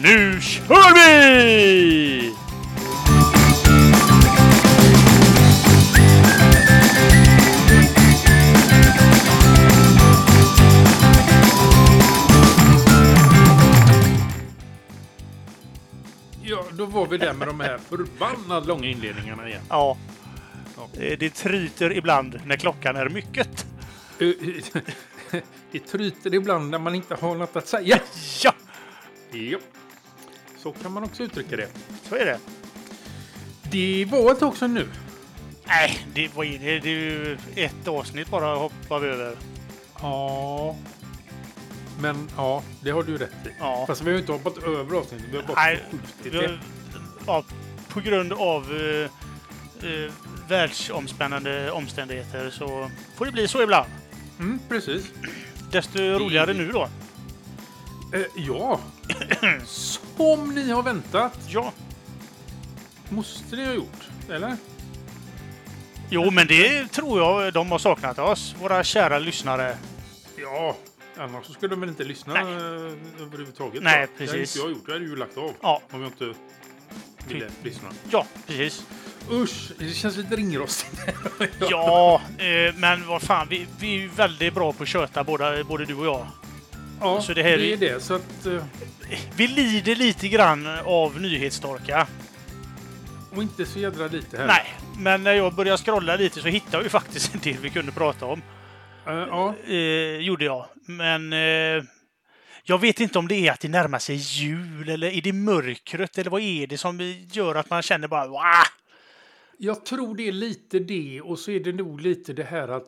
Nu kör vi! Ja, då var vi där med de här förbannat långa inledningarna igen. Ja. Ja. Eh, Det tryter ibland när klockan är mycket. Eh, Det tryter ibland när man inte har något att säga. Ja, Ja. Så kan man också uttrycka det. så är det. Det var ett tag sedan nu. Nej, det, vad är det? det är ju ett avsnitt bara hoppar vi över. Ja. Men ja, det har du rätt i. Ja. Fast vi har ju inte hoppat över avsnittet. Vi har bara Nej, skjutit vi har- det. ja, på grund av eh, eh, världsomspännande omständigheter så får det bli så ibland. Mm, precis. Desto roligare nu då. Eh, ja. Som ni har väntat. Ja. Måste ni ha gjort. Eller? Jo, men det tror jag de har saknat oss, våra kära lyssnare. Ja. Annars så skulle de väl inte lyssna Nej. eh, överhuvudtaget. Nej, va? Det hade precis. inte jag gjort. Jag hade ju lagt av. Ja, Typ. Om jag inte ville lyssna. ja precis. Usch, det känns lite ringrostigt. Ja, eh, men vad fan, vi, vi är ju väldigt bra på att köta, både, både du och jag. Ja, Så det här är- är det. Så att, eh, Vi lider lite grann av nyhetstorka. och inte så jädra lite här. Nej, men när jag började scrolla lite så hittade jag ju faktiskt en del vi kunde prata om. Eh, ja. eh, gjorde jag. Men eh, jag vet inte om det är att det närmar sig jul eller är det mörkret eller vad är det som gör att man känner bara Wah! Jag tror det är lite det och så är det nog lite det här att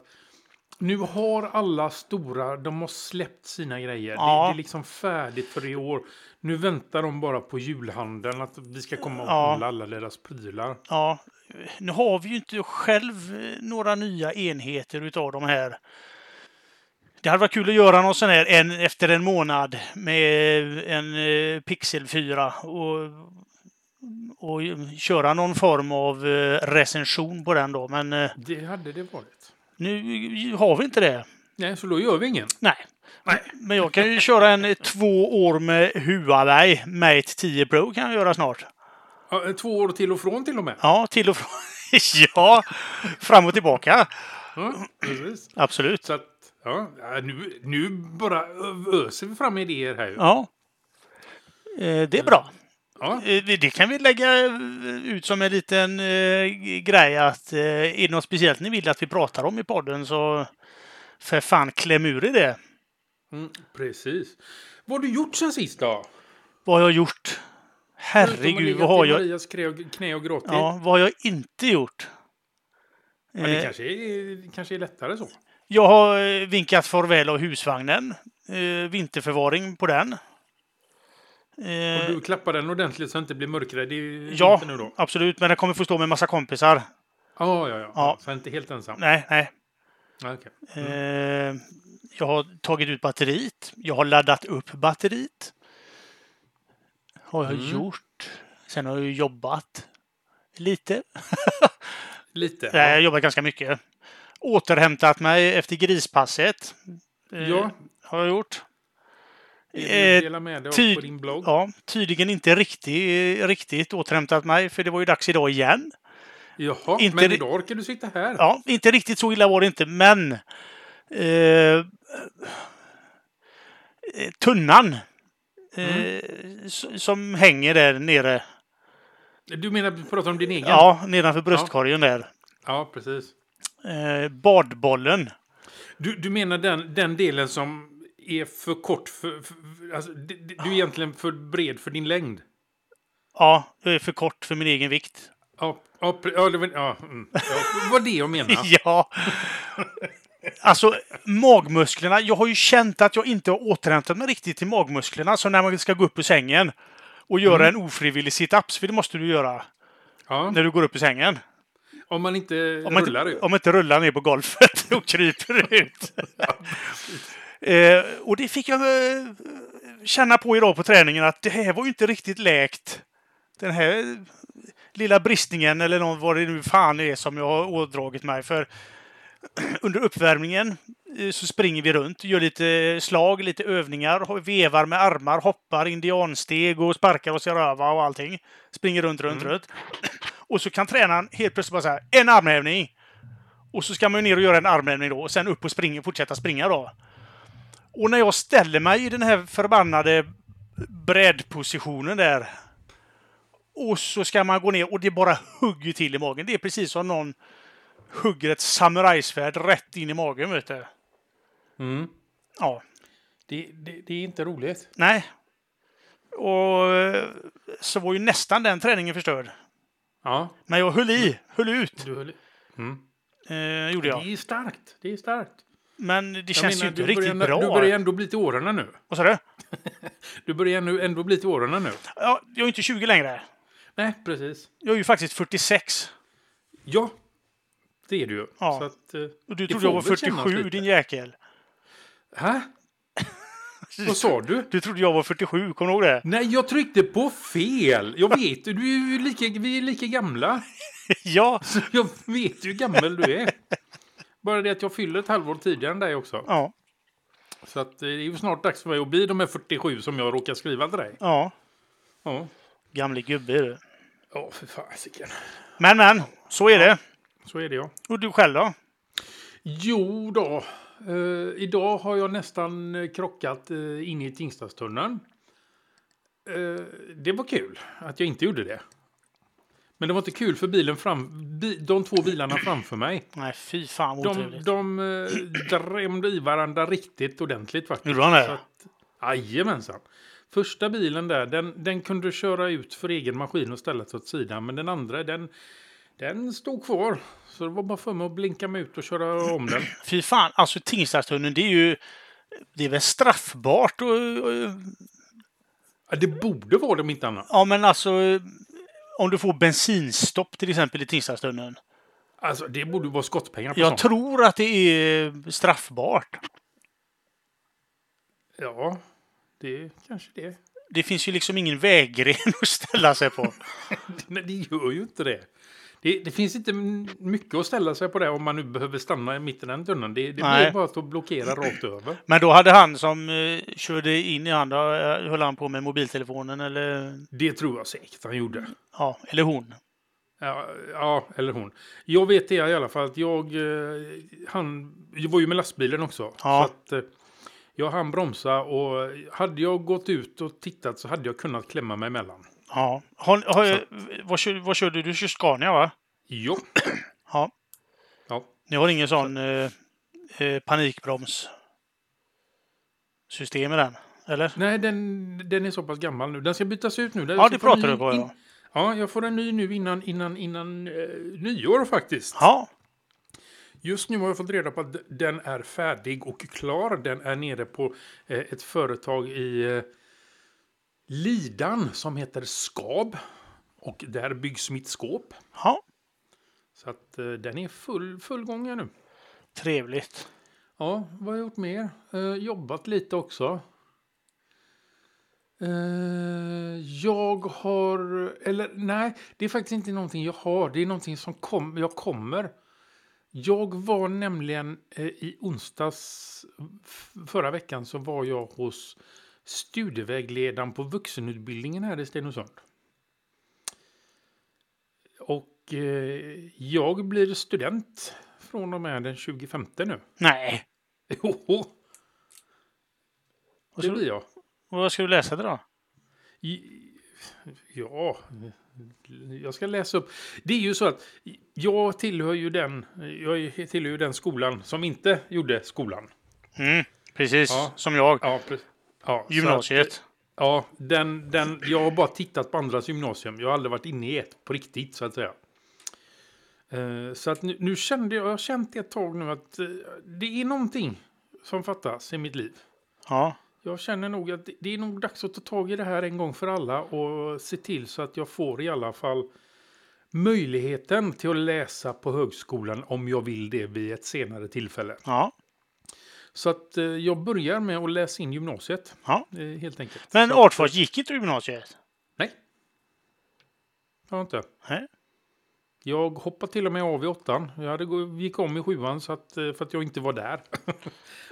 nu har alla stora, de har släppt sina grejer. Ja. Det, det är liksom färdigt för i år. Nu väntar de bara på julhandeln, att vi ska komma och Ja. handla alla deras prylar. Ja, nu har vi ju inte själv eh, några nya enheter utav de här. Det hade varit kul att göra någon sån här en, efter en månad med en eh, Pixel 4 och, och köra någon form av eh, recension på den då. Men eh, Det hade det varit. nu har vi inte det. Nej, så då gör vi ingen. Nej. Men jag kan ju köra en eh, två år med Huawei Mate 10 Pro kan jag göra snart. Ja, Två år till och från till och med. Ja, till och från. ja, fram och tillbaka. Ja, precis. Absolut. Så att, ja, ja, nu, nu bara öser vi fram idéer här. ju. Ja. Eh, Det är bra. Ja, Eh, Det kan vi lägga eh, ut som en liten eh, grej att eh, är det något speciellt ni vill att vi pratar om i podden så för fan kläm ur i det. mm, precis. Vad har du gjort sen sist då? Vad har jag gjort? Förutom att Herregud, ligga vad har till jag, Marias knä och, knä och gråtit. ja, vad har jag inte gjort? Men det Eh, kanske är, det kanske är lättare så. Jag har eh, vinkat farväl av husvagnen. Eh, vinterförvaring på den. Och Eh, du klappar den ordentligt så att det inte blir mörkare. Det är ju ja, inte nu då. absolut. Men den kommer få stå med massa kompisar. Ja, ja, ja. Ja. ja. Så jag är inte helt ensam. Nej, nej. Ja, okej. Eh, jag har tagit ut batteriet. Jag har laddat upp batteriet. Har jag Mm. gjort. Sen har jag ju jobbat lite. Lite. Nej, jag har jobbat ganska mycket. Återhämtat mig efter grispasset. Eh, Ja, Har jag gjort. vill Eh, du dela med dig ty- av på din blogg. Ja, tydligen inte riktigt, riktigt återhämtat mig, för det var ju dags idag igen. Jaha, inte men ri- idag orkar du sitta här. Ja, inte riktigt så illa var det inte, men... Eh, eh, tunnan eh, s- som hänger där nere. Du menar, du pratar om din egen? Ja, nedanför bröstkorgen där. Ja, precis. Eh, badbollen. Du, du menar den, den delen som är för kort för... för alltså, d- d- du är egentligen för bred för din längd. Ja, jag är för kort för min egen vikt. Ja, ja, pre- ja, det var- ja, mm. ja det var det jag menade. Ja. Alltså magmusklerna. Jag har ju känt att jag inte har återhämtat mig riktigt till magmusklerna. Så när man ska gå upp ur sängen och göra en ofrivillig situps, för det måste du göra Ja, när du går upp ur sängen. om man inte Om man rullar inte, ut. om man inte rullar ner på golvet och kryper ut. eh, och det fick jag eh, känna på idag på träningen att det här var ju inte riktigt läkt. Den här lilla bristningen eller någon, vad det nu fan är som jag har ådragit mig. För under uppvärmningen eh, så springer vi runt, gör lite slag, lite övningar, ho- vevar med armar, hoppar indiansteg och sparkar oss i röva och allting. Springer runt, runt, Mm. runt. Och så kan tränaren helt plötsligt bara säga en armhävning! Och så ska man ju ner och göra en armhävning då och sen upp och springa, fortsätta springa då. Och när jag ställer mig i den här förbannade brädpositionen där och så ska man gå ner och det bara hugger till i magen. Det är precis som någon hugger ett samurajsvärd rätt in i magen, vet du. Mm. Ja. Det, det, det är inte roligt. Nej. Och eh, så var ju nästan den träningen förstörd. Ja, Men jag höll i, höll ut, du höll... Mm. eh, gjorde jag. Det är starkt. Det är starkt. Men det Jag känns menar, ju inte du börjar- riktigt bra. Du börjar ändå bli till åren nu. Vad sa du? Du börjar nu, ändå bli till åren nu. Ja, jag är inte 20 längre. Nej, precis. Jag är ju faktiskt 46. Ja, det är du ju. Ja. Så att... eh, Och du Det trodde jag var får väl kännas 47, lite. din jäkel. Hä? Vad sa du? Du trodde jag var 47, kommer du ihåg det? Nej, jag tryckte på fel. Jag vet du är ju lika, vi är lika gamla. ja. Jag vet ju hur gammal du är. Bara det att jag fyller ett halvår tidigare än dig också. Ja. Så att eh, det är ju snart dags för mig att bli de här 47 som jag råkar skriva till dig. Ja. Ja, Gamle gubbe är du. ja för fasiken. Men, men. Så är det. Så är det ja. Och du själv då? Jo då. Eh, idag har jag nästan eh, krockat eh, in i Tingstadstunneln. Eh, det var kul att jag inte gjorde det. Men det var inte kul för bilen fram, bi, de två bilarna framför mig. Nej, fy fan vad De, otrevligt. de eh, drämde i varandra riktigt ordentligt faktiskt. Gjorde han Så det? att, jajamensan. Första bilen där, den, den kunde köra ut för egen maskin och ställa sig åt sidan. Men den andra, den, den stod kvar. Så det var bara för mig att blinka mig ut och köra om den. Fy fan, alltså Tingstadstunneln, det är ju... Det är väl straffbart och, och, Ja, det borde vara det om inte annat. Ja, men alltså... Om du får bensinstopp till exempel i Tingstadstunneln. Alltså, det borde ju vara skottpengar på Jag sånt. tror att det är straffbart. Ja, det är kanske det. Det finns ju liksom ingen väggren att ställa sig på. Nej, det gör ju inte det. Det, det finns inte m- mycket att ställa sig på det om man nu behöver stanna i mitten av den tunneln. Det, det Nej. blir bara att blockera rakt över. Men då hade han som eh, körde in i han, då, eh, höll han på med mobiltelefonen eller... Det tror jag säkert han Mm. gjorde. Ja, eller hon. Ja, ja, eller hon. Jag vet det i alla fall att jag... eh, Han, jag var ju med lastbilen också. Ja. Så att, eh, jag hann bromsa och hade jag gått ut och tittat så hade jag kunnat klämma mig emellan. Ja. Har, har, vad, kör, vad körde du? Du kör Scania, va? Ja. Ja. ja. Ni har ingen sån eh, eh, panikbromssystem i den? Eller? Nej, den, den är så pass gammal nu. Den ska bytas ut nu. Den Ja, ska det få en pratar ny du på, in- ja. Ja, jag får en ny nu innan, innan, innan eh, nyår faktiskt. Ja, Just nu har jag fått reda på att d- den är färdig och klar. Den är nere på eh, ett företag i eh, Lidan som heter Skab. Och där byggs mitt skåp. ja. Så att eh, den är full, full gång här nu. Trevligt. Ja, vad har jag gjort mer? Eh, jobbat lite också. Eh, jag har... Eller nej, det är faktiskt inte någonting jag har. Det är någonting som kom, jag kommer. Jag var nämligen eh, i onsdags f- förra veckan så var jag hos studievägledaren på vuxenutbildningen här i Stenungsund. Och eh, jag blir student från och med den 25 nu. Nej. Jo, Och det så, blir jag. och vad ska du läsa det då? I- Ja, jag ska läsa upp. Det är ju så att jag tillhör ju den, jag tillhör ju den skolan som inte gjorde skolan. Mm, precis, Ja. som jag. Ja, pre- ja, så Gymnasiet. Att, ja, den, den, jag har bara tittat på andras gymnasium. Jag har aldrig varit inne i ett på riktigt, så att säga. Eh, Så att nu, nu kände jag, jag har känt ett tag nu att eh, det är någonting som fattas i mitt liv. Ja. Jag känner nog att det- det är nog dags att ta tag i det här en gång för alla och se till så att jag får i alla fall möjligheten till att läsa på högskolan om jag vill det vid ett senare tillfälle. ja. Så att eh, jag börjar med att läsa in gymnasiet Ja. eh, helt enkelt. Men Så- Artfors gick inte du gymnasiet? Nej. Jag har inte. Nej. Jag hoppade till och med av i åttan. Jag hade, gå- gick om i sjuan så att, eh, för att jag inte var där.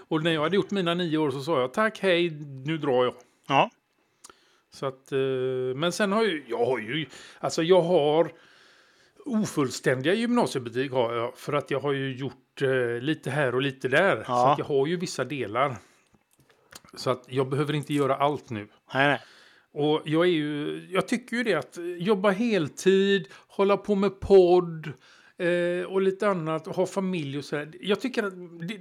och när jag hade gjort mina nio år så sa jag tack, hej, nu drar jag. Ja. Så att, eh, men sen har ju, jag har ju, alltså jag har ofullständiga gymnasiebetyg har jag för att jag har ju gjort eh, lite här och lite där. Så Ja. att jag har ju vissa delar. Så att jag behöver inte göra allt nu. Nej, nej. Och jag, är ju, jag tycker ju det att jobba heltid, hålla på med podd eh, och lite annat och ha familj och sådär. Jag tycker att det,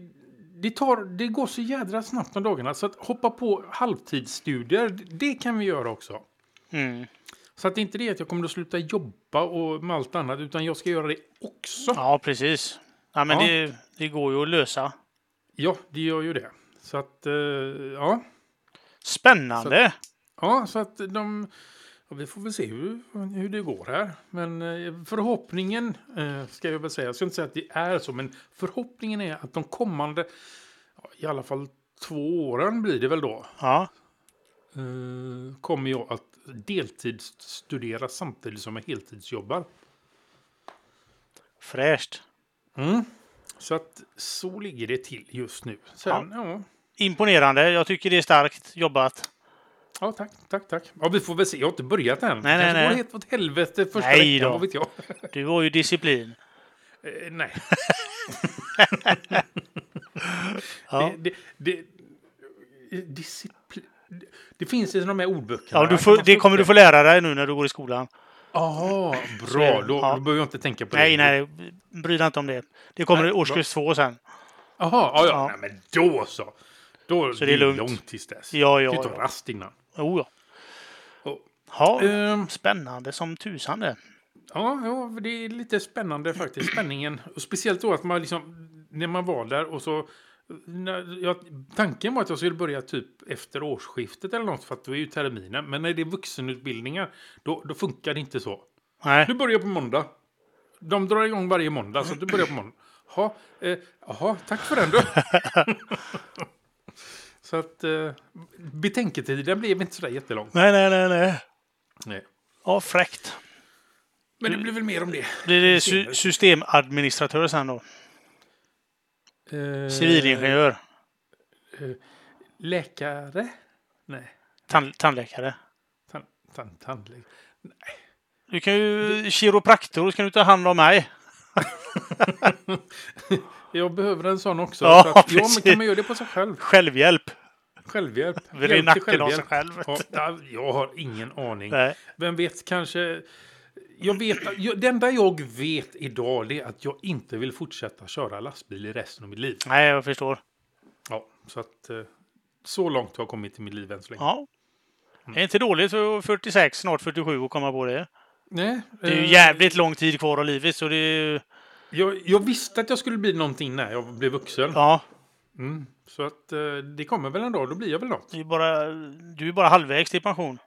det, tar, det går så jädra snabbt om dagarna så att hoppa på halvtidsstudier, det kan vi göra också. Mm. Så att det är inte det att jag kommer att sluta jobba och med allt annat utan jag ska göra det också. Ja, precis. Ja, men Ja. Det, det går ju att lösa. Ja, det gör ju det. Så att, eh, ja. Spännande! Ja, så att de... Ja, vi får väl se hur, hur det går här. Men eh, förhoppningen, eh, ska jag väl säga, jag ska inte säga att det är så, men förhoppningen är att de kommande, ja, i alla fall två åren blir det väl då, Ja. eh, kommer jag att deltidsstudera samtidigt som jag heltidsjobbar. Fräscht. Mm. Så att så ligger det till just nu. Sen, ja. Ja, Imponerande. Jag tycker det är starkt jobbat. tack, tack, tack. Ja, vi får väl se. Jag har inte börjat än. nej, Kanske nej. går det helt åt helvete första Nej veckan, då. vad vet jag. Du har ju disciplin. Eh, nej. Ja. Det, det, det, disciplin. Det, det finns i de här ordböckerna. Ja, du Kan får, man det få kommer upp du få lära dig nu när du går i skolan. Jaha, Så är bra. det. Då, Ja. då behöver jag inte tänka på Nej, det. nej, bry dig inte om det. Det kommer i årskurs två sen. Jaha, ja, ja. Ja. Nej, men då så. Då Så det är lugnt. långt tills dess. Ja, Du ja, kan ju ta ja. rast innan. Oh, ja. Och, Ja, ehm, spännande som tusan det. ja, ja, för det är lite spännande faktiskt. Spänningen. Och speciellt då att man liksom, när man var där och så... När jag, tanken var att jag skulle börja typ efter årsskiftet eller något för att då är ju terminen. Men när det är vuxenutbildningar, då, då funkar det inte så. Nej, Du börjar på måndag. De drar igång varje måndag, så du börjar på måndag. Ha, eh, aha, tack för den då. så att eh, betänketiden blev inte sådär jättelång. nej, nej, nej. nej. Nej. Ja, fräckt. Men det blir väl mer om det. Blir det sy- systemadministratör sen då? Eh, Civilingenjör? Läkare? Nej. Tan- tandläkare? Tan, tan, tandläkare. Du kan ju... Kiropraktor, ska du ta hand om mig? Jag behöver en sån också. Ja, så att, ja, men precis. kan man göra det på sig själv? Självhjälp. Självhjälp. Vrid Hjälp till nacken av sig självhjälp. själv. Ja, jag har ingen aning. Nej. Vem vet, kanske... Jag vet, jag, det enda jag vet idag det är att jag inte vill fortsätta köra lastbil i resten av mitt liv. nej, jag förstår. Ja, så att... eh, Så långt har jag kommit i mitt liv än så länge. Ja. Mm. Det är inte dåligt för 46, snart 47 att komma på det. Nej, Det är ju eh, jävligt lång tid kvar av livet, så det är ju... jag, jag visste att jag skulle bli någonting när jag blev vuxen. Ja, Mm, så att eh, det kommer väl en dag, då blir jag väl något. det är bara, du är bara halvvägs till pension.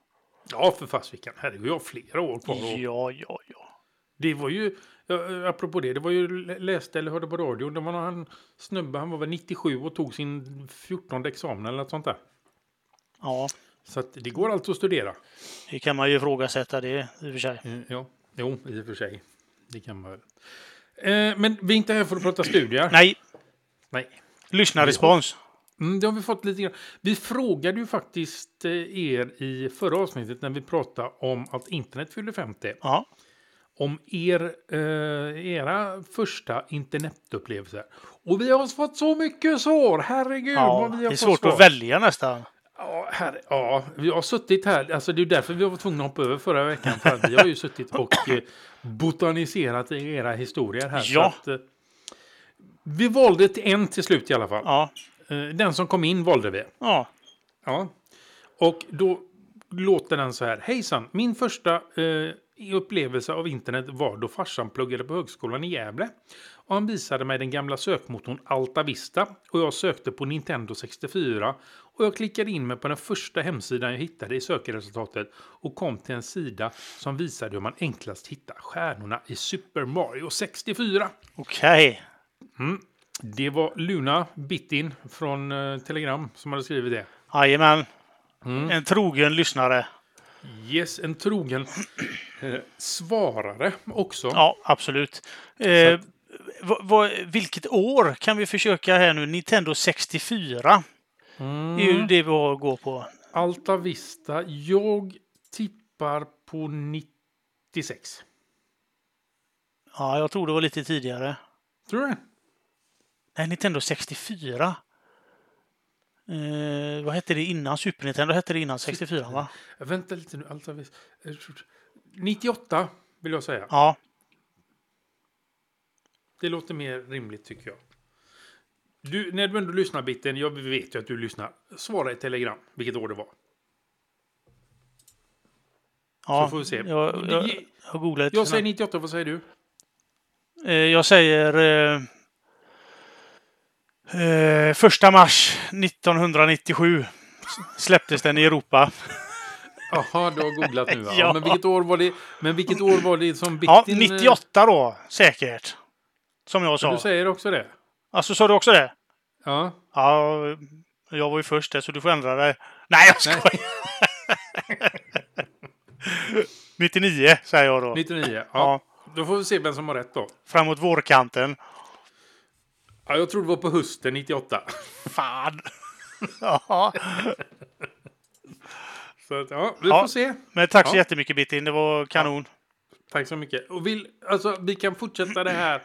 Ja, för fasiken. Herregud, jag har flera år kvar. Och Ja, ja, ja. Det var ju, ja, eh, apropå det, det var ju lä- läste eller hörde på radio. Det var någon han, snubbe, han var väl 97 och tog sin 14 examen eller något sånt där. Ja, Så att det går alltså att studera. det kan man ju ifrågasätta det i och för sig. Eh, Ja, jo, i och för sig. Det kan man väl. Eh, men vi är inte här för att prata studier. Nej, Nej. lyssna respons. Mm, det har vi fått lite grann. Vi frågade ju faktiskt eh, er i förra avsnittet när vi pratade om att internet fyllde 50. Ja, Om er, eh, era första internetupplevelser. Och vi har fått så mycket svar! Herregud ja vad vi har det är fått svårt svar. att välja nästan. Ja, här, ja, vi har suttit här. Alltså, det är därför vi var tvungna att hoppa över förra veckan. För att vi har ju suttit och eh, botaniserat i era historier här. så Ja. att, eh, vi valde till en till slut i alla fall. Ja, Eh, Den som kom in valde vi. ja. Ja. Och då låter den så här. Hejsan, min första eh, upplevelse av internet var då farsan pluggade på högskolan i Gävle. Och han visade mig den gamla sökmotorn Alta Vista och jag sökte på Nintendo 64. Och jag klickade in mig på den första hemsidan jag hittade i sökresultatet och kom till en sida som visade hur man enklast hittar stjärnorna i Super Mario 64. okej. Det var Luna Bittin från eh, Telegram som hade skrivit det. Jajamän. En trogen lyssnare. Yes, en trogen eh, svarare också. Ja, absolut. Eh, vad- vad- vilket år kan vi försöka här nu? Nintendo 64 Mm. Det är ju det vi har att gå på. Alta Vista. Jag tippar på 96. Ja, jag tror det var lite tidigare. Tror du det? Nej, Nintendo 64. Eh, vad hette det innan Super Nintendo? Hette det innan 64, va? Eh, Vänta lite nu. Alta Vista. Eh, 98 vill jag säga. Ja, Det låter mer rimligt tycker jag. Du, när du ändå lyssnar biten, jag vet ju att du lyssnar. Svara i telegram vilket år det var. ja. Så får vi se. Jag, jag, Jag, jag googlar lite jag säger snabbt. 98, vad säger du? Eh, jag säger... Eh, eh, första mars 1997 släpptes den i Europa. Jaha, du har googlat nu va? Ja. ja. men, vilket år var det, men vilket år var det som biten... Ja, eh, 98 då, säkert. Som jag Du sa. säger också det? Alltså, sa du också det? Ja. Ja, jag var ju först där, så du får ändra dig. Nej, jag Nej. skojar! 99, säger jag då. 99. Ja. Ja. Då får vi se vem som har rätt då. Framåt vårkanten. Ja, jag tror det var på hösten 98. Fan! ja. Så att, ja, vi Ja. får se. Men tack så Ja. jättemycket, Bittin. Det var kanon. Tack så mycket. Och vill, alltså, vi kan fortsätta det här eh,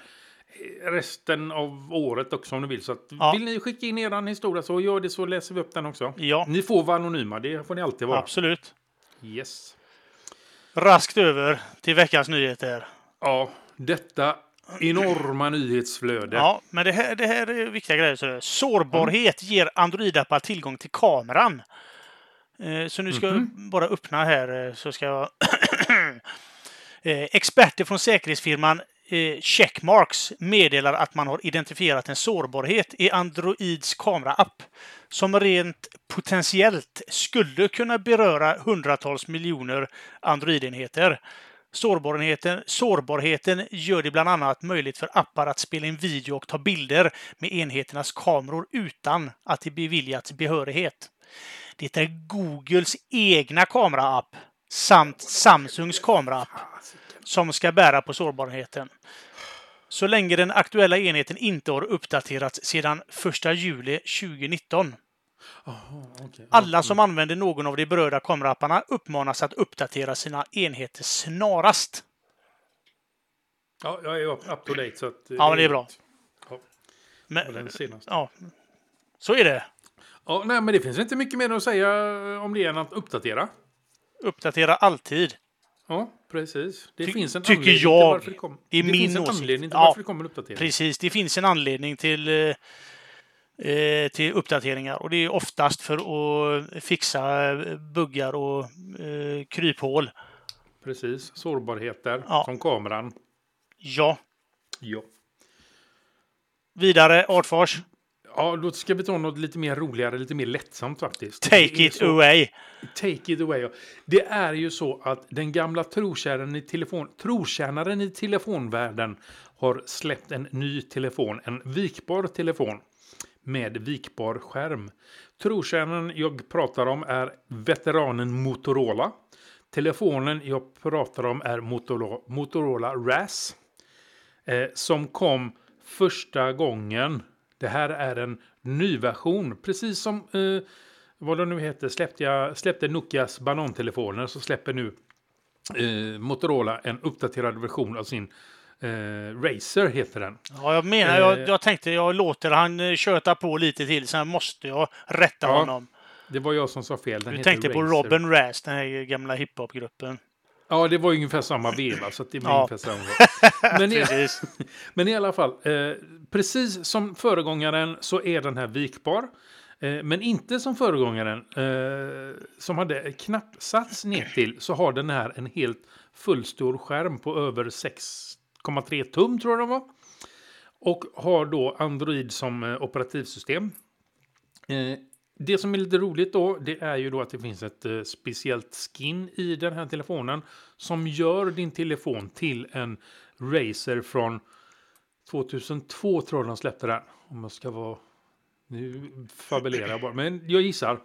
resten av året också om du vill. Så att, Ja. Vill ni skicka in er historia så gör det så läser vi upp den också. Ja, Ni får vara anonyma, det får ni alltid vara. absolut. Yes. Raskt över till veckans nyheter. Ja, detta enorma nyhetsflöde. Ja, men det här, det här är viktiga grejer. Så det är. Sårbarhet ger Android-appar tillgång till kameran. Eh, Så nu ska jag bara öppna här eh, så ska jag... Eh, Experter från säkerhetsfirman eh, Checkmarks meddelar att man har identifierat en sårbarhet i Androids kameraapp som rent potentiellt skulle kunna beröra hundratals miljoner Android-enheter. Sårbarheten, sårbarheten gör det bland annat möjligt för appar att spela in video och ta bilder med enheternas kameror utan att de beviljats behörighet. Det är Googles egna kameraapp samt Samsungs kameraapp Ah, som ska bära på sårbarheten. Så länge den aktuella enheten inte har uppdaterats sedan 1 juli 2019. Jaha, okej. Alla som använder någon av de berörda kamerapparna uppmanas att uppdatera sina enheter snarast. Ja, jag är up up to date. Så att, eh, Ja, men det är bra. Ja, och Men, den senaste. ja, så är det. Ja, nej, men det finns inte mycket mer att säga eh, om det än att uppdatera. Uppdatera alltid. Ja, precis. Det Ty- finns en tycker anledning till jag. varför det kom. Det är min finns en åsikt. anledning till Ja. varför det kommer en uppdatering. Precis, det finns en anledning till, eh, eh, till uppdateringar och det är oftast för att fixa eh, buggar och eh, kryphål. Precis. Sårbarheter Ja. som kameran. Ja. Ja. Vidare, Artfors. ja, då ska vi ta något lite mer roligare, lite mer lättsamt faktiskt. Take Det är it så, away. Take it away. ja. Det är ju så att den gamla trotjänaren i, telefon, trotjänaren i telefonvärlden har släppt en ny telefon, en vikbar telefon med vikbar skärm. Trotjänaren jag pratar om är veteranen Motorola. Telefonen jag pratar om är Motorola, Motorola RAS. eh, som kom första gången. Det här är en ny version. Precis som eh, vad de nu heter släppte, jag, släppte Nokias banantelefoner så släpper nu eh, Motorola en uppdaterad version av sin eh, Razer heter den. Ja, jag menar, jag, Eh. jag tänkte jag låter han eh, köta på lite till, sen måste jag rätta Ja, honom. Det var jag som sa fel. Den Du heter tänkte på Razer. Robin Raz, den här gamla hiphopgruppen. Ja, det var ungefär samma veva så att det var Ja. ungefär samma. Men i, Precis. Men i alla fall, eh, precis som föregångaren så är den här vikbar. Eh, men inte som föregångaren, eh, som hade knappsats ner till så har den här en helt fullstor skärm på över 6,3 tum tror jag den var. Och har då Android som eh, operativsystem. Eh, det som är lite roligt då, det är ju då att det finns ett eh, speciellt skin i den här telefonen som gör din telefon till en Razer från 2002 tror jag de släppte den. Om jag ska vara... Nu fabulerar jag bara, men jag gissar.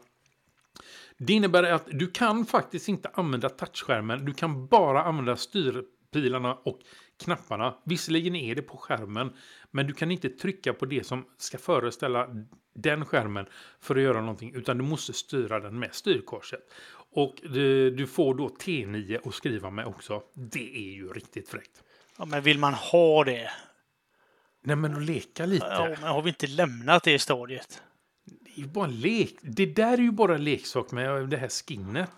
Det innebär att du kan faktiskt inte använda touchskärmen. Du kan bara använda styrpilarna och knapparna. Visserligen är det på skärmen, men du kan inte trycka på det som ska föreställa den skärmen för att göra någonting, utan du måste styra den med styrkorset. Och du, du får då T9 att skriva med också. Det är ju riktigt fräckt. Ja, men vill man ha det? Nej, men att leka lite. Ja, men har vi inte lämnat det stadiet? Det är ju bara en lek. Det där är ju bara en leksak med det här skinnet.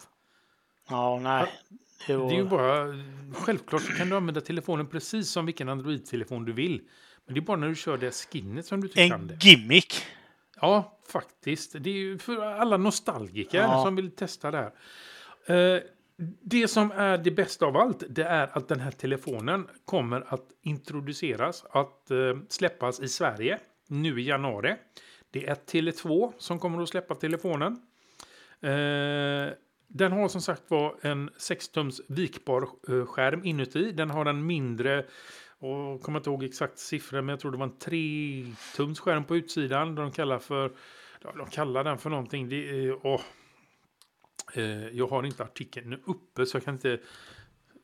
Ja, nej. Det Det är ju var... bara... Självklart så kan du använda telefonen precis som vilken Android-telefon du vill. Men det är bara när du kör det här skinnet som du tycker om En det. gimmick. Ja, faktiskt. Det är ju för alla nostalgiker Ja. som vill testa det här. Eh, Det som är det bästa av allt, det är att den här telefonen kommer att introduceras, att eh, släppas i Sverige nu i januari. Det är Tele2 som kommer att släppa telefonen. Eh, Den har som sagt var en 6-tums vikbar eh, skärm inuti. Den har en mindre och jag kommer inte ihåg exakt siffror, men jag tror det var en 3-tums skärm på utsidan. De kallar, för, ja, de kallar den för någonting. Det, är- åh. Eh, jag har inte artikeln nu uppe, så jag kan inte...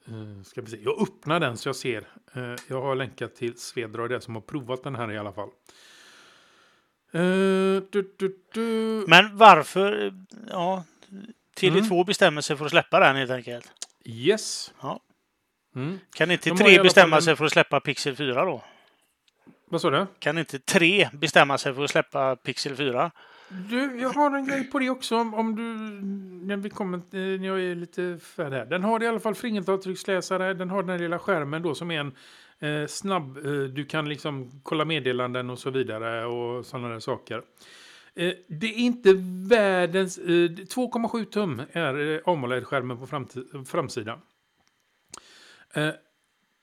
Eh, ska vi se. Jag öppnar den så jag ser. Eh, jag har länkat till Svedra och det som har provat den här i alla fall. Eh, du, du, du. Men varför? eh, Ja, Mm. Tele2 bestämmer sig för att släppa den helt enkelt. Yes. Ja. Mm. Kan inte De har i tre alla bestämma fall en- sig för att släppa Pixel 4 då? Vad sa du? Kan inte tre bestämma sig för att släppa Pixel 4? Du, jag har en grej på det också. Om, om du... När vi kommer... eh, När jag är lite färdig här. Den har i alla fall fingeravtrycksläsare. Den har den här lilla skärmen då som är en eh, snabb... Eh, du kan liksom kolla meddelanden och så vidare och sådana där saker. Eh, det är inte världens... Eh, 2,7 tum är eh, AMOLED-skärmen på framti- framsidan. Eh,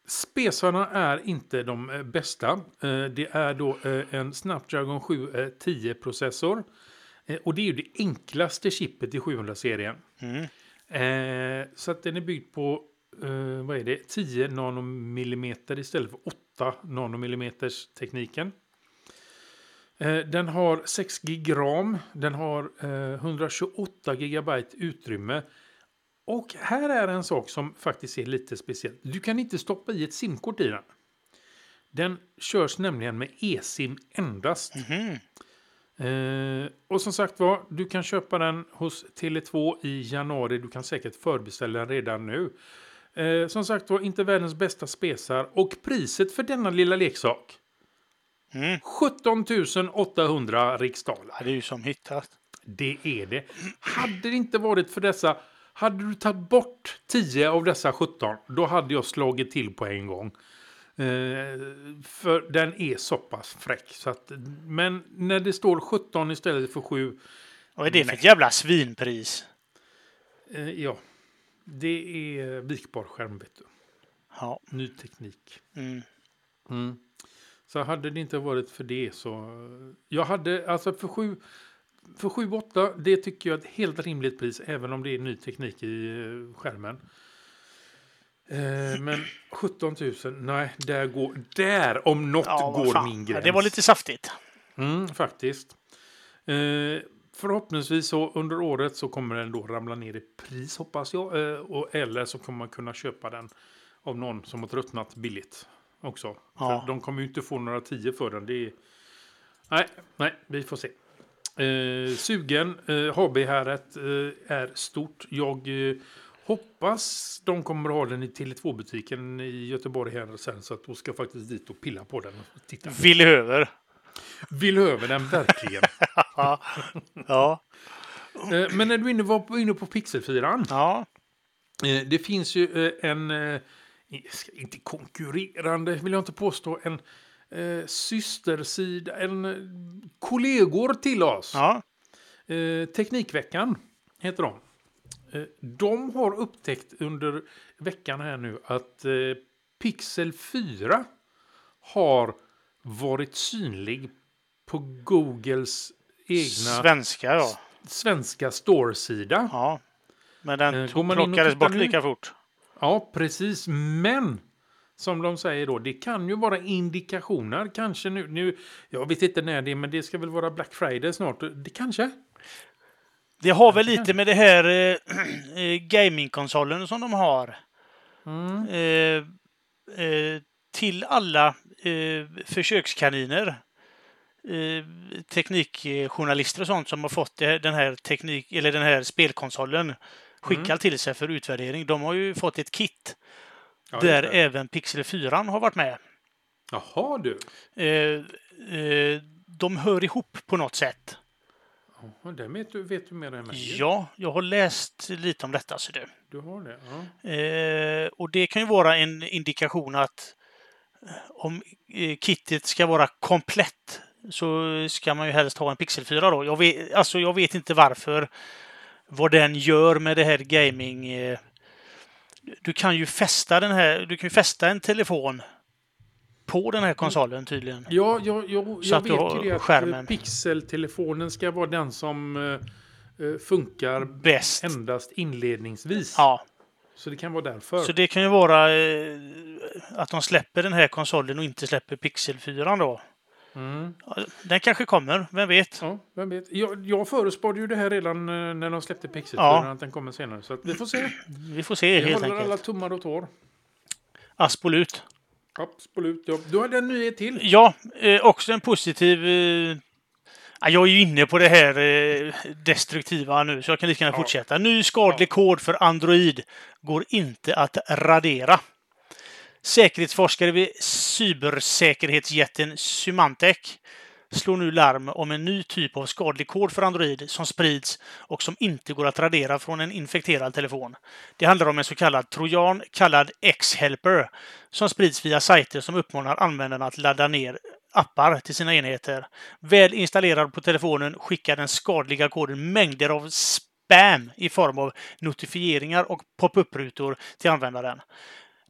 Spesarna är inte de eh, bästa. Eh, Det är då eh, en Snapdragon eh, 710-processor. Eh, Och det är ju det enklaste chippet i 700-serien. Mm. Eh, Så att den är byggd på eh, vad är det? 10 nanomillimeter istället för 8 nanomillimeters tekniken. Eh, Den har 6 gig ram. Den har eh, 128 gigabyte utrymme. Och här är en sak som faktiskt är lite speciell. Du kan inte stoppa i ett simkort i den. Den körs nämligen med eSIM endast. Mhm. Eh, och som sagt var, du kan köpa den hos Tele2 i januari. Du kan säkert förbeställa den redan nu. Eh, som sagt var, inte världens bästa spesar. Och priset för denna lilla leksak? Mm. 17 800 riksdaler. Ja, det är ju som hittat. Det är det. Hade det inte varit för dessa... Hade du tagit bort 10 av dessa 17, då hade jag slagit till på en gång. Eh, för den är så pass fräck. Så att, men när det står 17 istället för 7, Vad är det för ett jävla svinpris? Eh, ja, det är vikbar skärm, vet du. Ja. Ny teknik. Mm. Så hade det inte varit för det så... Jag hade, alltså för 7... För 7-8, det tycker jag är ett helt rimligt pris, även om det är ny teknik i eh, skärmen. Eh, men 17 000, nej, där går... Där om något Ja, vad går fan. min Ja, gräns. det var lite saftigt. Mm, faktiskt. Eh, förhoppningsvis så under året så kommer den då ramla ner i pris hoppas jag. Eh, och, eller så kommer man kunna köpa den av någon som har tröttnat billigt också. Ja. För de kommer ju inte få några tio för den. Det är... Nej, nej, vi får se. Eh, sugen, eh, hobbyhäret eh, är stort. Jag eh, hoppas de kommer att ha den i Tele2-butiken i Göteborg här sen. Så att då ska jag faktiskt dit och pilla på den och titta. Vill över. Vill över den verkligen. Ja. Eh, Men när du inne var på- inne på pixelfyran. ja. eh, Det finns ju eh, en, eh, ska- inte konkurrerande vill jag inte påstå, en eh, systersida, en eh, kollegor till oss. Ja. Eh, Teknikveckan heter de. Eh, De har upptäckt under veckan här nu att eh, Pixel 4 har varit synlig på Googles egna Svenska, ja. svenska storesida. ja. Men Eh, den går man in och plockades tittar bort nu? lika fort. Ja, precis. Men som de säger då, det kan ju vara indikationer. Kanske nu, nu jag vet inte när det är, men det ska väl vara Black Friday snart. Det kanske. Det har väl lite med det här eh, eh, gamingkonsolen som de har. Mm. Eh, eh, till alla eh, försökskaniner. Eh, teknikjournalister och sånt som har fått det, den här teknik eller den här spelkonsolen skickad till sig för utvärdering. De har ju fått ett kit Mm. Ja, just där det. även Pixel 4 har varit med. Jaha du. Eh, eh, de hör ihop på något sätt. Jaha, det vet du, vet du mer än mig. ju. Ja, jag har läst lite om detta. Så du. Du har det. Ja. Eh, och det kan ju vara en indikation att eh, om eh, kittet ska vara komplett så ska man ju helst ha en Pixel 4 då. Jag vet, alltså jag vet inte varför. Vad den gör med det här gaming... Eh, du kan ju fästa den här, du kan ju fästa en telefon på den här konsolen tydligen. Ja, jag, jag, Så jag att du vet har ju det att skärmen. eh, pixeltelefonen ska vara den som eh, eh, funkar Bäst. endast inledningsvis. Ja, Så det kan vara därför. så det kan ju vara eh, att de släpper den här konsolen och inte släpper Pixel 4 då. Mm. Ja, Den kanske kommer, vem vet? Ja, vem vet. Jag, jag förespådde ju det här redan eh, när de släppte Pixel Ja. för att den kommer senare. Så att vi får se. Vi får se Vi helt håller alla enkelt. tummar och tår. Absolut. Absolut. Ja. Du hade en nyhet till. Ja, eh, också en positiv... Eh, ja, jag är ju inne på det här eh, destruktiva nu, så jag kan lika gärna Ja. fortsätta. Ny skadlig kod för Android går inte att radera. Säkerhetsforskare vid cybersäkerhetsjätten Symantec slår nu larm om en ny typ av skadlig kod för Android som sprids och som inte går att radera från en infekterad telefon. Det handlar om en så kallad trojan kallad X-helper som sprids via sajter som uppmanar användarna att ladda ner appar till sina enheter. Väl installerad på telefonen skickar den skadliga koden mängder av spam i form av notifieringar och pop-up-rutor till användaren.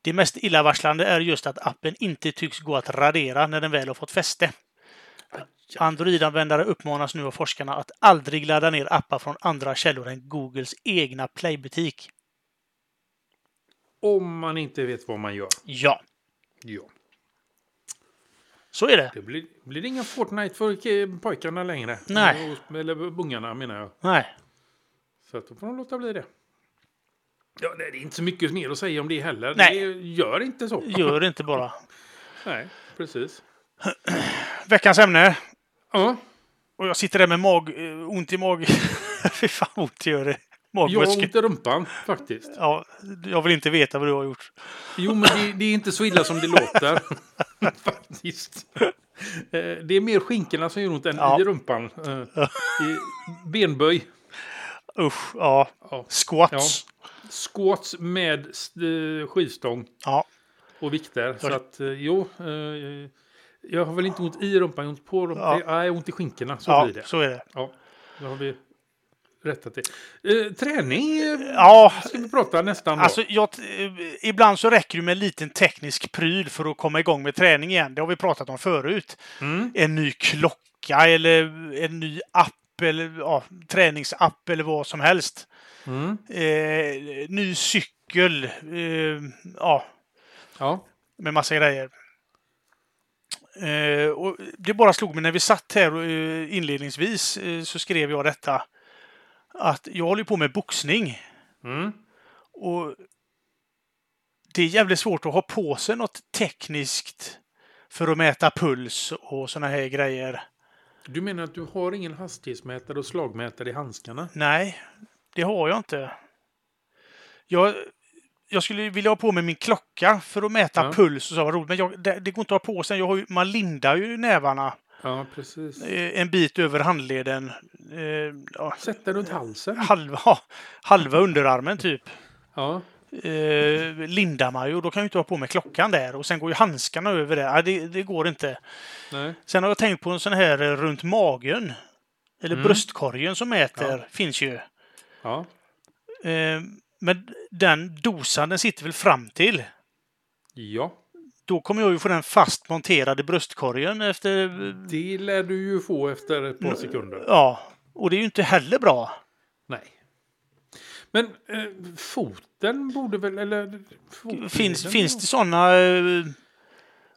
Det mest illavarslande är just att appen inte tycks gå att radera när den väl har fått fäste. Android-användare uppmanas nu av forskarna att aldrig ladda ner appar från andra källor än Googles egna Play-butik. Om man inte vet vad man gör. Ja, Ja. så är det. Det blir, blir det inga Fortnite för ke- pojkarna längre. Nej. Eller bungarna menar jag. Nej. Så att då får de låta bli det. Ja, nej, det är inte så mycket mer att säga om det heller. Nej. Det gör inte så. Gör det inte bara. Nej, precis. Veckans ämne. Ja, Och jag sitter där med mag, eh, ont i magen. Fy fan vad ont det gör i jag har magmuskeln. ont i rumpan faktiskt. Ja, jag vill inte veta vad du har gjort. Jo, men det, det är inte så illa som det låter. Faktiskt. Eh, Det är mer skinkorna som gör ont än Ja. i rumpan. Eh, i Benböj. Usch, ja. Ja. Squats. Squats med eh, skivstång Ja. och vikter. Så att, eh, jo. eh, Jag har väl inte ont i rumpan, jag har ont på rumpan. Ja. Nej, jag har ont i skinkorna. Så ja, blir det. så är det. Ja, då har vi rättat det. Eh, träning eh, Ja, ska vi prata nästan då. alltså jag, t- eh, ibland så räcker det med en liten teknisk pryl för att komma igång med träning igen. Det har vi pratat om förut. Mm. En ny klocka eller en ny app eller ja, träningsapp eller vad som helst. Mm. Eh, ny cykel. Eh, ja, Ja. med massa grejer. Eh, och det bara slog mig när vi satt här eh, inledningsvis eh, så skrev jag detta. Att jag håller på med boxning Mm. och det är jävligt svårt att ha på sig något tekniskt för att mäta puls och såna här grejer. Du menar att du har ingen hastighetsmätare och slagmätare i handskarna? Nej, det har jag inte. Jag, jag skulle vilja ha på mig min klocka för att mäta Ja. puls och så, vad roligt. Men jag, det, det går inte att ha på sig. Jag har ju, man lindar ju nävarna. Ja, precis. eh, en bit över handleden. Eh, ja, Sätta runt halsen. halva, halva underarmen typ. Ja. Eh, lindar man ju och då kan jag ju inte ha på mig klockan där. Och sen går ju handskarna över där. Ja, det, det går inte. Nej. Sen har jag tänkt på en sån här eh, runt magen. Eller bröstkorgen som mäter. Finns ju. Ja. Eh, men den dosan den sitter väl fram till. Ja. Då kommer jag ju få den fast monterade bröstkorgen efter... eh, Det lär du ju få efter ett Mm. par sekunder. Ja. Och det är ju inte heller bra. Nej. Men eh, foten borde väl, eller? fotleden Finns, då? finns det sådana eh,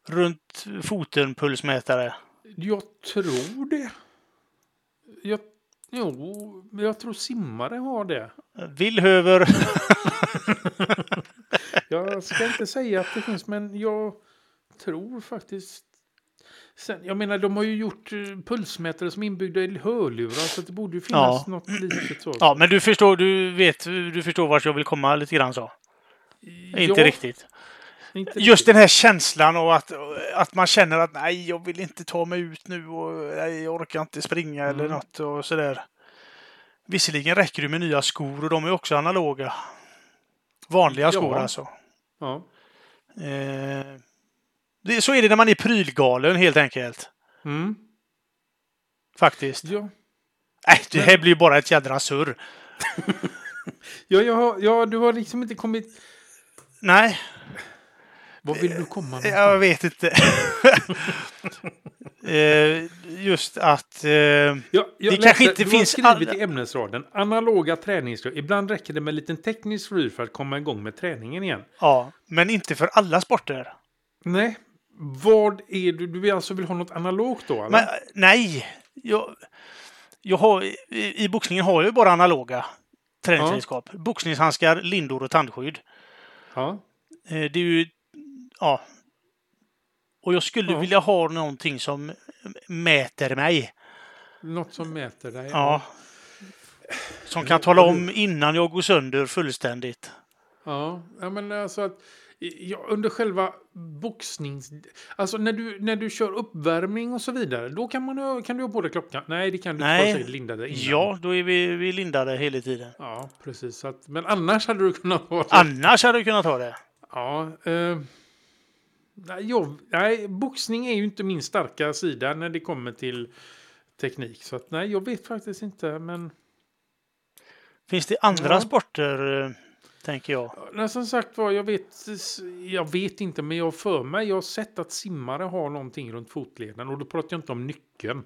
runt foten pulsmätare? Jag tror det. Jag Jo, men jag tror simmare har det. Villhöver. Jag ska inte säga att det finns, men jag tror faktiskt... Sen, jag menar, de har ju gjort eh, pulsmätare som är inbyggda i hörlurar, så att det borde ju finnas Ja. något litet så. Ja, men du förstår, du vet, du förstår vart jag vill komma lite grann så. Inte Ja, riktigt. inte Just den här känslan av att, att man känner att nej, jag vill inte ta mig ut nu och nej, jag orkar inte springa eller Mm. något och sådär. Visserligen räcker det med nya skor och de är också analoga. Vanliga Ja. skor alltså. Ja. Eh, det, så är det när man är prylgalen helt enkelt. Mm. Faktiskt. Ja. Nej, det här blir ju bara ett jädra surr. Ja, jag har, ja, du har liksom inte kommit... Nej, Vad vill du komma med? jag vet inte. eh, just att... Eh, Ja, jag Det kanske inte du finns har skrivit alla- i ämnesraden, analoga träningsrör. Ibland räcker det med en liten teknisk rör för att komma igång med träningen igen. ja, men inte för alla sporter. Nej, vad är du? Du vill alltså vill ha något analogt då? Eller? Men, nej, jag, jag har, i, i boxningen har jag ju bara analoga träningsredskap. Boxningshandskar, lindor och tandskydd. Ja. Eh, Det är ju, ja. Och jag skulle Ja. vilja ha någonting som mäter mig. Något som mäter dig? Ja. Som kan tala om innan jag går sönder fullständigt. Ja, ja men alltså att ja, under själva boxnings... Alltså när du, när du kör uppvärmning och så vidare, då kan, man, ha- kan du ha på dig klockan? Nej, det kan du Nej. inte. Du har säkert lindat dig innan. Ja, då är vi, vi lindade hela tiden. Ja, precis. Så Att, men annars hade du kunnat ha det. Annars hade jag kunnat ha det. Ja, eh, nej, jag, nej, boxning är ju inte min starka sida när det kommer till teknik. Så att, nej, jag vet faktiskt inte. Men Finns det andra Ja. sporter, eh, tänker jag? nej, som sagt var, jag vet, jag vet inte, men jag har för mig. Jag har sett att simmare har någonting runt fotleden och då pratar jag inte om nyckeln.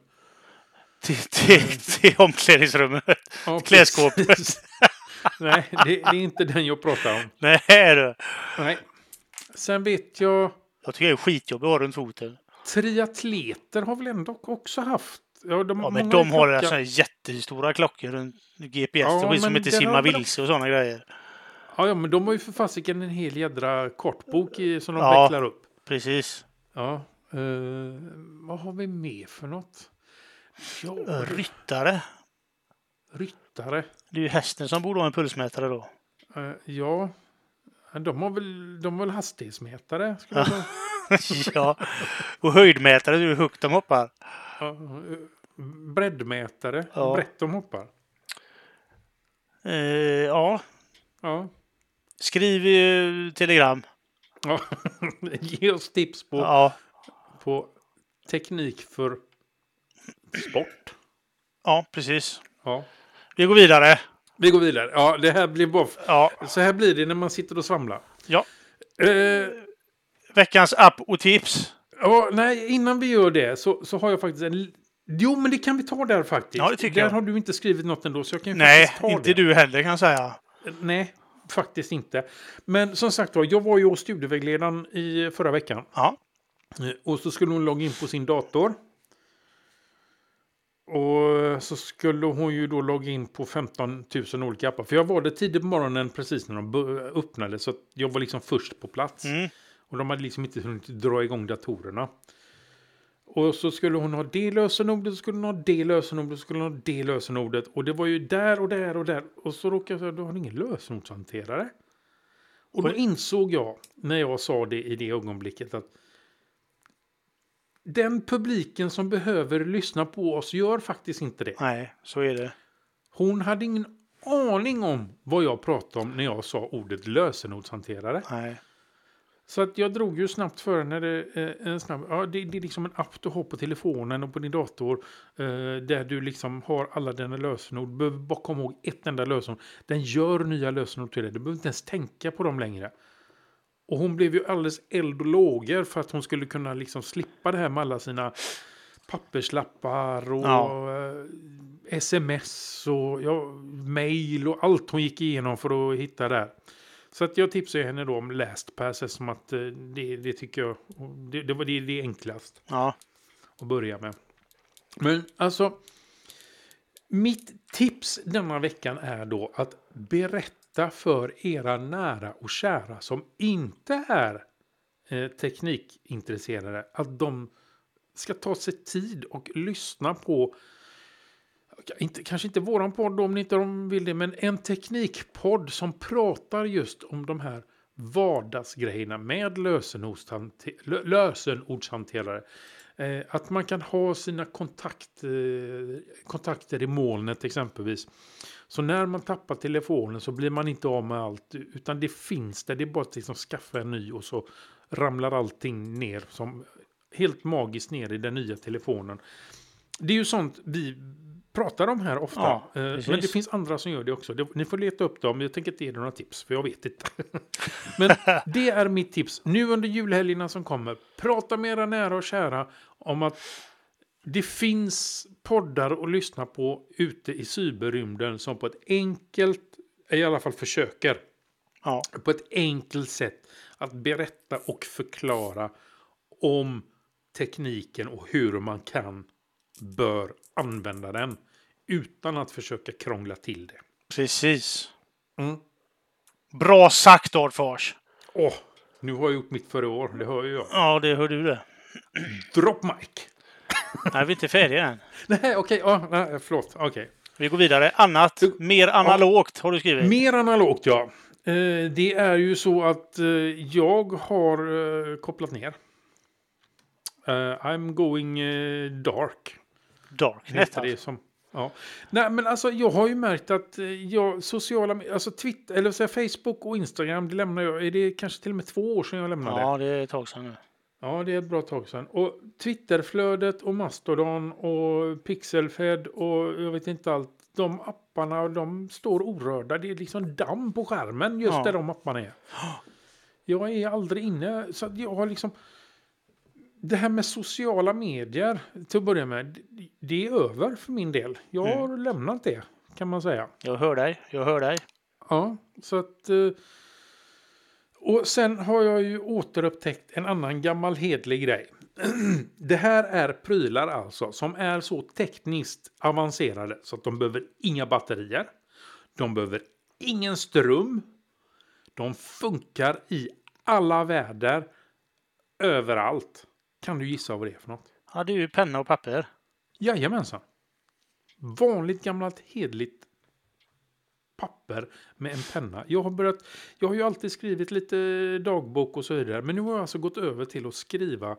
Till, till, till omklädningsrummet? Ja, Klädskåpet. precis. nej, det, det är inte den jag pratar om. Nej du! Nej. Sen vet jag, Jag tycker det är skitjobbigt att ha runt foten. triatleter har väl ändå också haft. Ja, de, Ja, men många de har klockor. alltså jättestora klockor runt GPS Ja, ja, som men inte det simmar har väl vilse och sådana grejer. Ja, ja, men de har ju för fasiken en hel jädra kortbok i, som de Ja. vecklar upp. Precis. Ja. eh, vad har vi med för något? Ja, Ryttare. ryttare. Det är ju hästen som borde ha en pulsmätare då. Eh, ja. eh, De har, väl, de har väl hastighetsmätare? Skulle jag säga. ja. Och höjdmätare, det är hur högt de hoppar. Ja, eh, breddmätare. Ah. Ja. Ja. Brett de hoppar. Eh, ja. Ja. Skriv eh, telegram. ja. Ge oss tips på, Ja. på teknik för sport. ja, precis. Ja. Vi går vidare. Vi går vidare. Ja, det här blir bara... Ja. Så här blir det när man sitter och svamlar. ja. Eh, Veckans app och tips. Ja, nej, innan vi gör det så, så har jag faktiskt en... li- Jo, men det kan vi ta där faktiskt. Ja, det tycker där jag. har du inte skrivit något ändå, så jag kan ju Nej, faktiskt ta inte det. du heller kan jag säga. Nej, faktiskt inte. Men som sagt var, jag var ju hos studievägledaren i förra veckan. Ja. Eh, Och så skulle hon logga in på sin dator. Och eh, så skulle hon ju då logga in på 15 000 olika appar. För jag var där tidigt på morgonen precis när de bör- öppnade. Så att jag var liksom först på plats. Mm. Och de hade liksom inte hunnit dra igång datorerna. Och så skulle hon ha det lösenordet, så skulle hon ha det lösenordet, så skulle hon ha det lösenordet. Och det var ju där och där och där. Och så råkade jag säga, du har ingen lösenordshanterare. Och då Oj. insåg jag, när jag sa det i det ögonblicket, att den publiken som behöver lyssna på oss gör faktiskt inte det. Nej, så är det. Hon hade ingen aning om vad jag pratade om när jag sa ordet lösenordshanterare. Nej. Så att jag drog ju snabbt för henne. Det, eh, en snabb, ja, det, det är liksom en app du har på telefonen och på din dator. Eh, där du liksom har alla dina lösenord. Du behöver bara komma ihåg ett enda lösenord. Den gör nya lösenord till dig. Du behöver inte ens tänka på dem längre. Och hon blev ju alldeles eld och lågor för att hon skulle kunna liksom slippa det här med alla sina papperslappar och Ja. eh, sms och ja, mail och allt hon gick igenom för att hitta där. Så att jag tipsar henne då om LastPass eftersom att eh, det, det tycker jag det, det var det, det är enklast Ja. att börja med. Men alltså, Mitt tips denna veckan är då att berätta för era nära och kära som inte är eh, teknikintresserade att de ska ta sig tid och lyssna på inte, kanske inte våran podd om ni inte de vill det, men en teknikpodd som pratar just om de här vardagsgrejerna med lösenordshante- lö- lösenordshanterare. Eh, att man kan ha sina kontakt, eh, kontakter i molnet exempelvis. Så när man tappar telefonen så blir man inte av med allt, utan det finns där. Det är bara att liksom skaffa en ny och så ramlar allting ner som helt magiskt ner i den nya telefonen. Det är ju sånt vi pratar om här ofta. Ja, Eh, men det precis. finns andra som gör det också. Det- Ni får leta upp dem. Jag tänker inte ge er några tips, för jag vet inte. men det är mitt tips. Nu under julhelgerna som kommer, prata med era nära och kära om att det finns poddar att lyssna på ute i cyberrymden som på ett enkelt, i alla fall försöker, Ja. på ett enkelt sätt att berätta och förklara om tekniken och hur man kan, bör använda den utan att försöka krångla till det. Precis. Mm. Bra sagt, Adfars. Åh, nu har jag gjort mitt för i år, det hör ju jag. Ja, det hör du det. Drop mic! Nej, vi är inte färdiga än. Nej, okej, ja, nej, förlåt. Okej. Vi går vidare. Annat, Du- mer analogt har du skrivit. Mer analogt, ja. Eh, Det är ju så att eh, jag har eh, kopplat ner. Eh, I'm going eh, dark. Darknet. Heter Alltså. det som, ja. Nej, men alltså, jag har ju märkt att eh, jag, sociala, med- alltså Twitter, eller så här, Facebook och Instagram, det lämnar jag, är det kanske till och med två år sedan jag lämnade? Ja, det är ett tag sedan nu. Ja, det är ett bra tag sedan. Och Twitterflödet och Mastodon och Pixelfed och jag vet inte allt. De apparna, de står orörda. Det är liksom damm på skärmen just Ja. där de apparna är. Jag är aldrig inne, så att jag har liksom... Det här med sociala medier, till att börja med, det- det är över för min del. Jag har lämnat det, kan man säga. Jag hör dig. Jag hör dig. Ja, så att... eh, Och sen har jag ju återupptäckt en annan gammal hedlig grej. Det här är prylar alltså som är så tekniskt avancerade så att de behöver inga batterier. De behöver ingen ström. De funkar i alla väder. Överallt. Kan du gissa vad det är för något? Ja, det är ju penna och papper. Jajamensan. Vanligt gammalt hedligt papper med en penna. Jag har, börjat, jag har ju alltid skrivit lite dagbok och så vidare. Men nu har jag alltså gått över till att skriva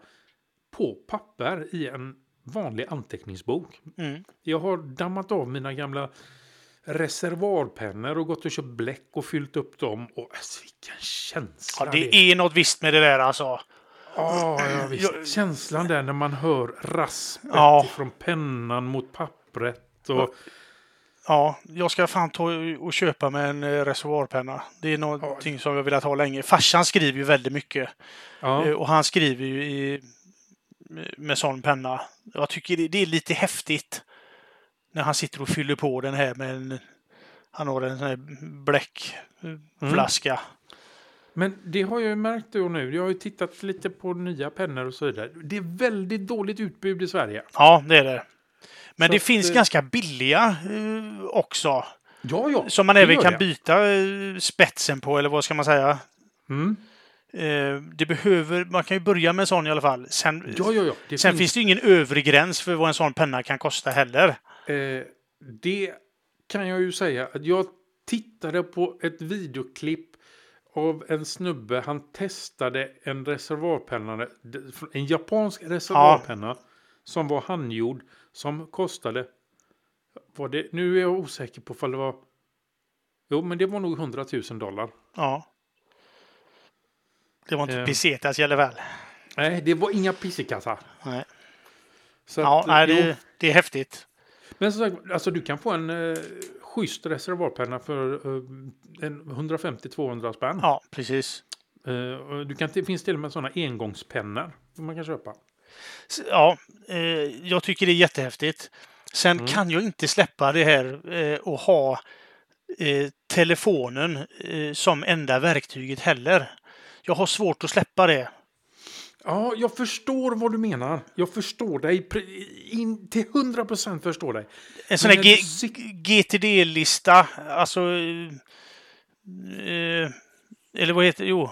på papper i en vanlig anteckningsbok. Mm. Jag har dammat av mina gamla reservoarpennor och gått och köpt bläck och fyllt upp dem. Och alltså, vilken känsla Ja, det är något visst med det där alltså. Ja, ja visst. Känslan där när man hör raspet Ja. från pennan mot pappret. Och, Ja, jag ska fan ta och köpa med en eh, reservoarpenna. Det är någonting som jag velat ha länge. Farsan skriver ju väldigt mycket. Eh, ja. Och han skriver ju i, med- med sån penna. Jag tycker det, det är lite häftigt när han sitter och fyller på den här med en... Han har en sån här eh, Mm. bläckflaska. Men det har jag ju märkt då nu. Jag har ju tittat lite på nya pennor och så vidare. Det är väldigt dåligt utbud i Sverige. Ja, det är det. Men Så det att, finns eh, ganska billiga eh, också. Ja, ja. Som man det även gör kan det. byta eh, spetsen på, eller vad ska man säga? Mm. Eh, det behöver... Man kan ju börja med en sån i alla fall. Sen, Ja, ja, ja. Det sen finns det ju ingen övre gräns för vad en sån penna kan kosta heller. Eh, det kan jag ju säga att jag tittade på ett videoklipp av en snubbe. Han testade en reservoarpenna, en japansk reservoarpenna som var handgjord som kostade. Var det, nu är jag osäker på om det var. Jo, men det var nog 100 000 dollar. Ja. Det var inte Eh. pesetas i alla fall. Nej, det var inga pissekassar. Nej. Så Ja, att, nej, jo. det, det är häftigt. Men som sagt, alltså du kan få en eh, schysst reservoarpenna för eh, en 150-200 spänn. Ja, precis. Eh, och Du kan, det finns till och med sådana engångspennor som man kan köpa. S- Ja, eh, jag tycker det är jättehäftigt. Sen Mm. kan jag inte släppa det här eh, och ha eh, telefonen eh, som enda verktyget heller. Jag har svårt att släppa det. Ja, jag förstår vad du menar. Jag förstår dig. pre- In, till 100 procent förstår dig. En sån Men här när G- du sik- GTD-lista, alltså... Eh, eller vad heter det? Jo.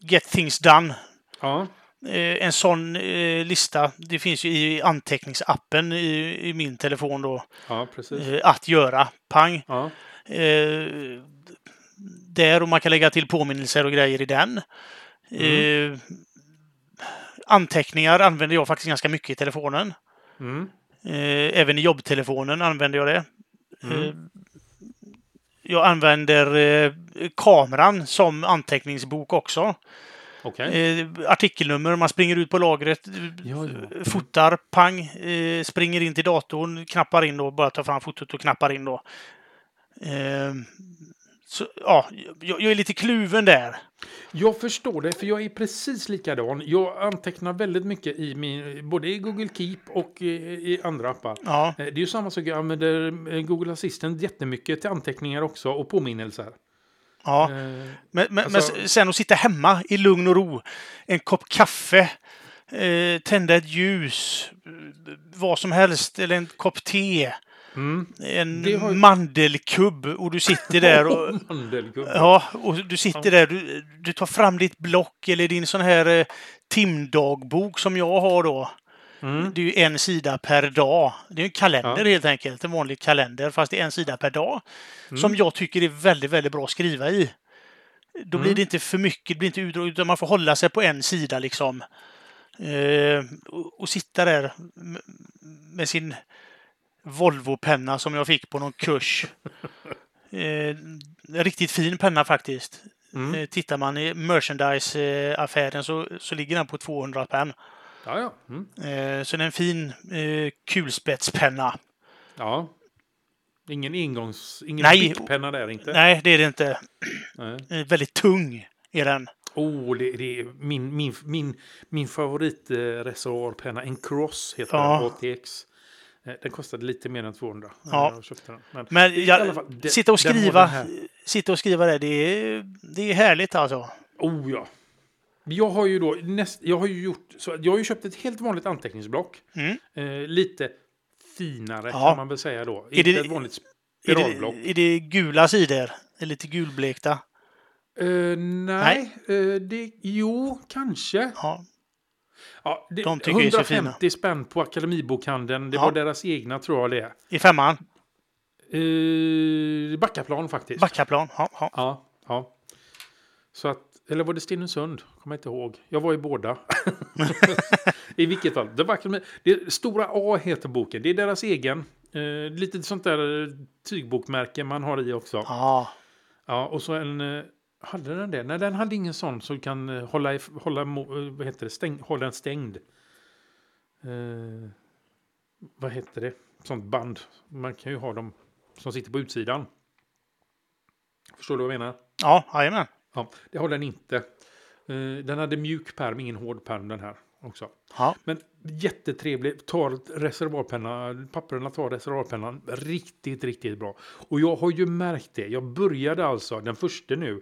Get things done. Ja, Eh, en sån eh, lista, det finns ju i anteckningsappen i, i min telefon då, ja precis. eh, att göra, pang. Ja, Eh, där och man kan lägga till påminnelser och grejer i den. Eh, anteckningar använder jag faktiskt ganska mycket i telefonen. mm. Eh, även i jobbtelefonen använder jag det. Eh, jag använder eh, kameran som anteckningsbok också. okej. Eh, artikelnummer, man springer ut på lagret, eh, Ja, ja. fotar, pang, eh, springer in till datorn, knappar in då, bara tar fram fotot och knappar in då. Eh, så, ja, jag, jag är lite kluven där. Jag förstår det, för jag är precis likadan. Jag antecknar väldigt mycket i min, både i Google Keep och i, i andra appar. Ja, Eh, Det är ju samma sak, jag använder eh, Google Assistant jättemycket till anteckningar också och påminnelser. ja. Eh, Men, men, Alltså- men sen att sitta hemma i lugn och ro, en kopp kaffe, eh, tända ett ljus, eh, vad som helst, eller en kopp te, Mm. Det en har ju- mandelkubb och du sitter där och Mandelkubb. Ja, och du sitter där, du, du tar fram ditt block eller din sån här eh, timdagbok som jag har då. Mm. Det är ju en sida per dag. Det är ju en kalender Ja. helt enkelt, en vanlig kalender, fast det är en sida per dag. Mm. Som jag tycker är väldigt, väldigt bra att skriva i. Då Mm. blir det inte för mycket, det blir inte utdraget, utan man får hålla sig på en sida liksom. Eh, och, och sitta där med, med sin Volvo-penna som jag fick på någon kurs. Eh, en riktigt fin penna faktiskt. Mm. Eh, tittar man i merchandise-affären så, så ligger den på 200 spänn. Ja, ja. Mm. Eh, så det är en fin eh, kulspetspenna. ja. Ingen engångs... Ingen Nej. fickpenna där inte. Nej, det är det inte. Nej. Eh, väldigt tung är den. Oh, det, det är min, min, min, min favoritreservoarpenna, en Cross heter Ja. den, ATX. Eh, Den kostade lite mer än 200 när Ja. jag köpte den. Men, Men i alla jag, fall, de- sitta och den har skriva, den här. sitta och skriva det, det är, det är härligt alltså. Oh ja. Jag har ju då näst, jag har ju gjort så att jag har ju köpt ett helt vanligt anteckningsblock. Mm. Eh, lite finare Ja. kan man väl säga då. Är det- Inte ett vanligt Är spiralblock. det, är det gula sidor? Eller lite gulblekta? Eh, nej, Eh, det, jo, kanske. Ja. Ja, det, De tycker ju är så fina. 150 spänn på Akademibokhandeln. Det Ja. var deras egna tror jag det. I femman? Eh, Backaplan faktiskt. Backaplan? Ja, ja. Ja, ja. Så att, eller var det Stenungsund? Kommer jag inte ihåg. Jag var i båda. I vilket fall. Det var Akademi- det, Stora A heter boken. Det är deras egen. Eh, lite sånt där eh, tygbokmärke man har i också. ja. Ja, och så en... Eh, hade den det? Nej, den hade ingen sån som kan eh, hålla, i, hålla, mo- eh, vad heter det? Stäng, hålla den stängd. Eh, vad heter det? Sånt band. Man kan ju ha dem som sitter på utsidan. Förstår du vad jag menar? Ja, jajamän. Ja, det har den inte. Eh, Den hade mjuk pärm, ingen hård pärm den här också. Ja. Men jättetrevlig. Tar reservoarpenna, papperna tar reservoarpennan riktigt, riktigt bra. Och jag har ju märkt det. Jag började alltså den första nu.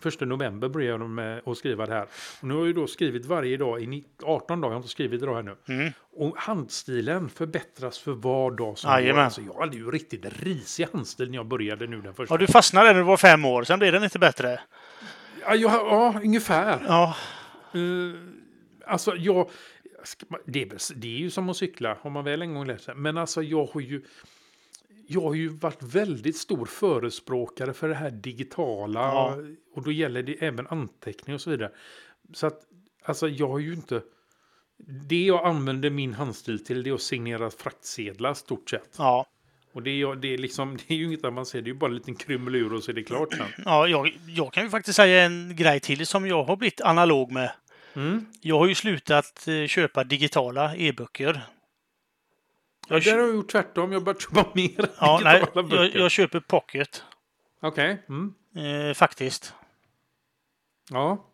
Första november började jag med att skriva det här. Och nu har jag ju då skrivit varje dag i ni- 18 dagar. Jag har inte skrivit idag ännu. Mm. Och handstilen förbättras för var dag som går. Jajamän. Alltså, jag hade ju riktigt risig handstil när jag började nu den första. ja, du fastnade när du var fem år, sen blev den inte bättre. Ja, jag, ja ungefär. Ja, Eh, alltså, jag... ska man- Det är, väl- det är ju som att cykla, har man väl en gång lärt sig. Men alltså, jag har ju... Jag har ju varit väldigt stor förespråkare för det här digitala. Ja. Och då gäller det även anteckning och så vidare. Så att, alltså, jag har ju inte... Det jag använder min handstil till det är att signera fraktsedlar stort sett. ja. Och det är, jag- det är, liksom, det är ju inget avancerat, det är ju bara en liten krumelur och så är det klart sen. ja jag, jag kan ju faktiskt säga en grej till som jag har blivit analog med. Mm. Jag har ju slutat eh, köpa digitala e-böcker. Jag, Där kö- har jag gjort tvärtom, jag har börjat köpa mer ja, nej, digitala böcker. jag, jag köper pocket, Okej. Mm. eh, faktiskt. Ja.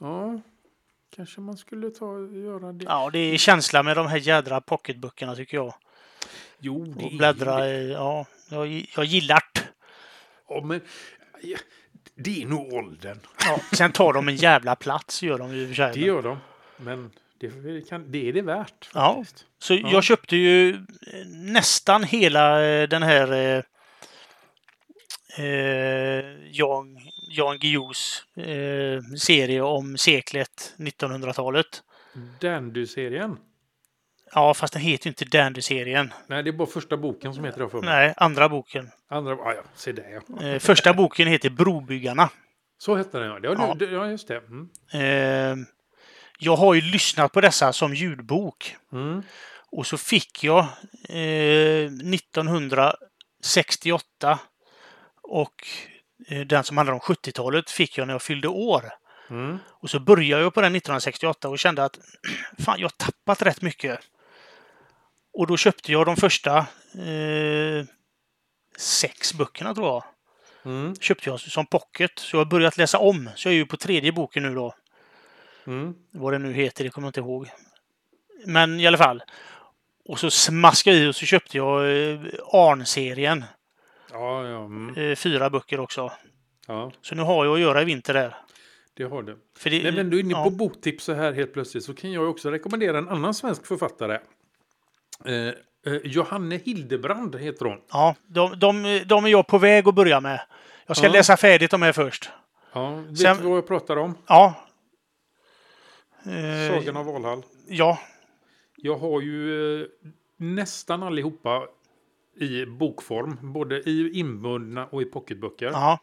Ja. Kanske man skulle ta göra det. Ja, det är känsla med de här jädra pocketböckerna tycker jag. Jo, det Och är bläddra ju i, ja, jag, gi- jag gillar det. det. Ja, men, ja, det är nog åldern. Ja, sen tar de en jävla plats, gör de ju i och för sig. Det gör de. Men det, kan, det är det värt. Ja. Faktiskt. Så jag köpte ju eh, nästan hela eh, den här eh, eh, Jan, Jan Guillous eh, serie om seklet 1900-talet. Dandy-serien. Ja, fast den heter ju inte Dandy-serien. Nej, det är bara första boken som heter det för mig. Nej, andra boken. Andra, ah, ja, se där ja. Eh, första boken heter Brobyggarna. Så hette den ja. Det, Ja. ja. Det, ja, just det. Mm. Eh, jag har ju lyssnat på dessa som ljudbok. Mm. Och så fick jag eh, 1968 och eh, den som handlar om 70-talet fick jag när jag fyllde år. Mm. Och så började jag på den 1968 och kände att fan, jag har tappat rätt mycket. Och då köpte jag de första eh, sex böckerna tror jag. Mm. Köpte jag som pocket. Så jag har börjat läsa om. Så jag är ju på tredje boken nu då Mm. vad det nu heter, det kommer jag inte ihåg. Men i alla fall. Och så smaskade jag i och så köpte jag eh, Arn-serien. Ja, ja, mm. Eh, fyra böcker också. ja, Så nu har jag att göra i vinter där. det har du. För det, Nej, men du är inne ja. på boktips så här helt plötsligt så kan jag också rekommendera en annan svensk författare. Eh, eh, Johanne Hildebrand heter hon. Ja, de, de, de är jag på väg att börja med. Jag ska Ja. läsa färdigt de här först. Ja, vet Sen- du vad jag pratar om? Ja. Eh, Sagan om Valhall. ja. Jag har ju eh, nästan allihopa i bokform, både i inbundna och i pocketböcker. ja.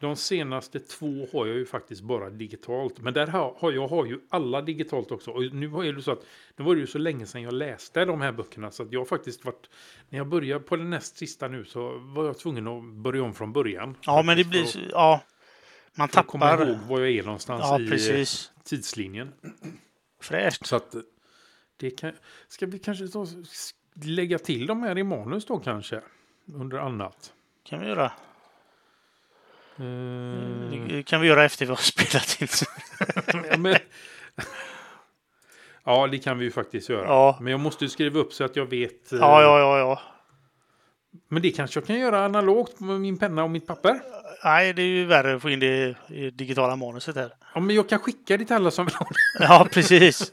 De senaste två har jag ju faktiskt bara digitalt. Men där har, har jag har ju alla digitalt också. Och nu har jag ju så att nu var det ju så länge sedan jag läste de här böckerna så att jag har faktiskt varit när jag började på den näst sista nu så var jag tvungen att börja om från början. Ja, men det Faktiskt blir... för att- så- Ja. Man för att komma tappar... ihåg var jag är någonstans Ja, i eh, precis. tidslinjen. Fräscht. Så att eh, det kan, ska vi kanske då s- lägga till de här i manus då kanske under annat. kan vi göra. Eh, Det kan vi göra efter vi har spelat in. Mm. Ja, men... Ja, det kan vi ju faktiskt göra. Ja. Men jag måste ju skriva upp så att jag vet. eh, Ja, ja, ja, ja. Men det kanske jag kan göra analogt med min penna och mitt papper. Nej, det är ju värre att få in det i digitala manuset här. Ja, men jag kan skicka det till alla som vill ha det. Ja, precis.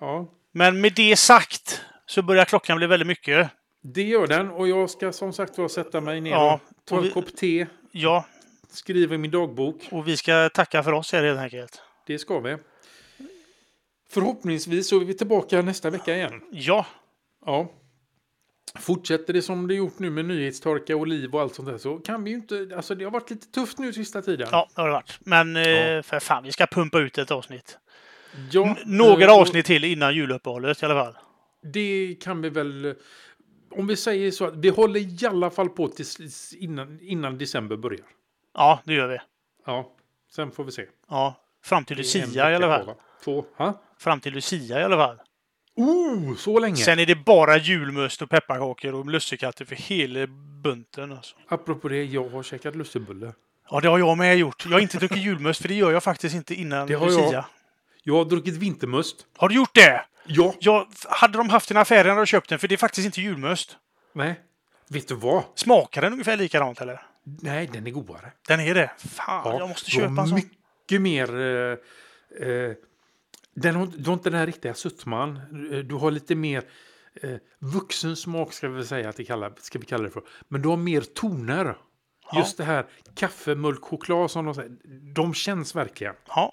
Ja, Men med det sagt så börjar klockan bli väldigt mycket. det gör den och jag ska som sagt var sätta mig ner Ja, och ta och vi- en kopp te, Ja, skriva i min dagbok. och vi ska tacka för oss här helt enkelt. Det ska vi. Förhoppningsvis så är vi tillbaka nästa vecka igen. Ja, Ja. Fortsätter det som det gjort nu med nyhetstorka och liv och allt sånt där så kan vi ju inte... Alltså det har varit lite tufft nu sista tiden. ja det har det varit. Men eh, Ja. för fan, vi ska pumpa ut ett avsnitt. Ja, N- Några eh, och avsnitt till innan juluppehållet i alla fall. Det kan vi väl... Om vi säger så att vi håller i alla fall på tills innan, innan december börjar. Ja, det gör vi. Ja, sen får vi se. Ja, fram till Det är en Lucia i alla fall. vecka kvar, va? Två. Ha? Fram till Lucia i alla fall. Oh, så länge! Sen är det bara julmust och pepparkakor och lussekatter för hela bunten. Alltså. Apropå det, jag har käkat lussebulle. Ja, det har jag med gjort. Jag har inte druckit julmust, för det gör jag faktiskt inte innan Det har Lucia. jag. Jag har druckit vintermust. Har du gjort det? Ja. Jag, hade de haft en affär när jag köpt den, för det är faktiskt inte julmust. Nej. Vet du vad? Smakar den ungefär likadant eller? Nej, den är godare. Den är det. Fan, Ja, jag måste du har köpa en sån. Mycket mer... Eh, eh, den har, du har inte den här riktiga sötman. Eh, Du har lite mer eh, vuxen smak ska vi säga att det kallar, ska vi kalla det för. Men du har mer toner. Ja. Just det här kaffe, mjölk, choklad som de säger. De känns verkligen. Ja,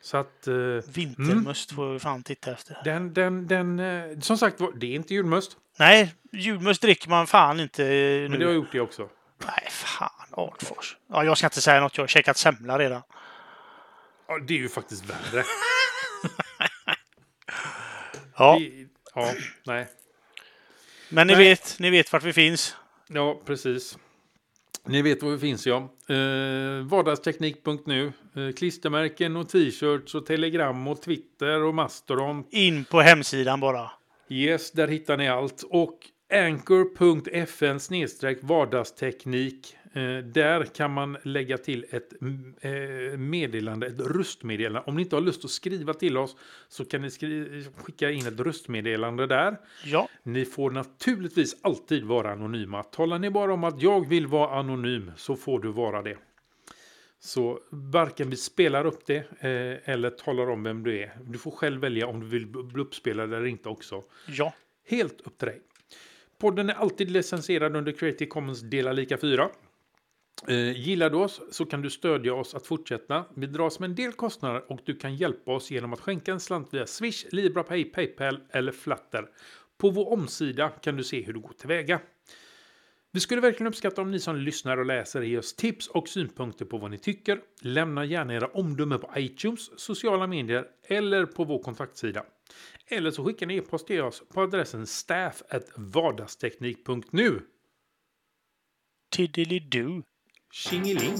Så att... Eh, Mm. vintermust får vi fan titta efter. den, den, den... Eh, som sagt var, det är inte julmust. Nej, julmust dricker man fan inte eh, nu. Men det har jag gjort det också. Nej, fan. Artfors. Ja, jag ska inte säga något. Jag har käkat semla redan. Ja, det är ju faktiskt värre. Ja, Det- ja, nej. men ni Nej. vet, ni vet vart vi finns. Ja, precis. Ni vet var vi finns, ja. Eh, vardagsteknik.nu. Eh, klistermärken och t-shirts och telegram och Twitter och Mastodon. In på hemsidan bara. Yes, där hittar ni allt. Och anchor.fn snedstreck vardagsteknik. Eh, där kan man lägga till ett mm, eh, meddelande, ett röstmeddelande. Om ni inte har lust att skriva till oss så kan ni skri- skicka in ett röstmeddelande där. Ja, Ni får naturligtvis alltid vara anonyma. Talar ni bara om att jag vill vara anonym så får du vara det. Så varken vi spelar upp det eh, eller talar om vem du är. Du får själv välja om du vill bli uppspelad eller inte också. Ja. Helt upp till dig. Podden är alltid licensierad under Creative Commons Dela lika 4. Eh, gillar du oss så kan du stödja oss att fortsätta. Vi dras med en del kostnader och du kan hjälpa oss genom att skänka en slant via Swish, LibraPay, Paypal eller Flatter. På vår omsida kan du se hur du går tillväga. Vi skulle verkligen uppskatta om ni som lyssnar och läser ger oss tips och synpunkter på vad ni tycker. Lämna gärna era omdömen på iTunes, sociala medier eller på vår kontaktsida. Eller så skickar ni e-post till oss på adressen staff@vardagsteknik.nu. Tiddelidu. Tjingeling!